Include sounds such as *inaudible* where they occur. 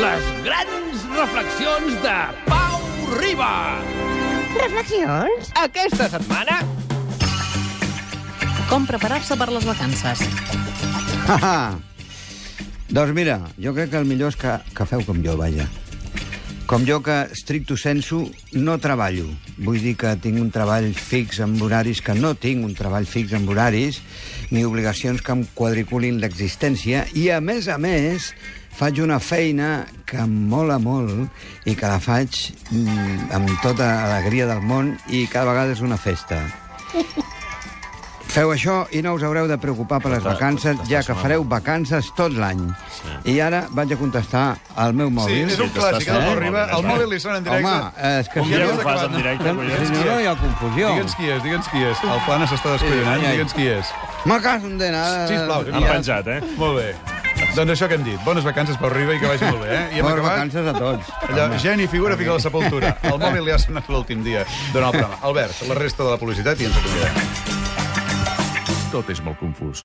Les grans reflexions de Pau Riba. Reflexions? Aquesta setmana, Com preparar-se per les vacances. Ha, ha. *laughs* doncs mira, jo crec que el millor és que, que feu com jo, vaja. Com jo que, stricto sensu, no treballo. Vull dir que tinc un treball fix amb horaris, que no tinc un treball fix amb horaris, ni obligacions que em quadriculin l'existència, i a més a més faig una feina que em mola molt i que la faig mm, amb tota alegria del món i cada vegada és una festa. Feu això i no us haureu de preocupar per les vacances, ja que fareu vacances tot l'any. I ara vaig a contestar al meu Sí, mòbil. és un clàssic, eh? el Pau Riba. El mòbil li sona en directe. Home, eh, és que... Un si dia no- ho fas en directe, si No hi ha confusió. Digue'ns qui és, digue'ns qui és. El Plana s'està descollonant, Sí, Eh, sí. digue'ns qui és. Me caso en dena. Sisplau, Han penjat, eh? Molt bé. Doncs això que hem dit. Bones vacances, Pau Riba, i que vagi molt bé, eh? I hem Bones acabat... vacances a tots. Allò, Home. geni figura fica a la *laughs* sepultura. El mòbil li ha sonat l'últim dia. Dona el programa. Albert, la resta de la publicitat i ens acomiadem. Tot és molt confús.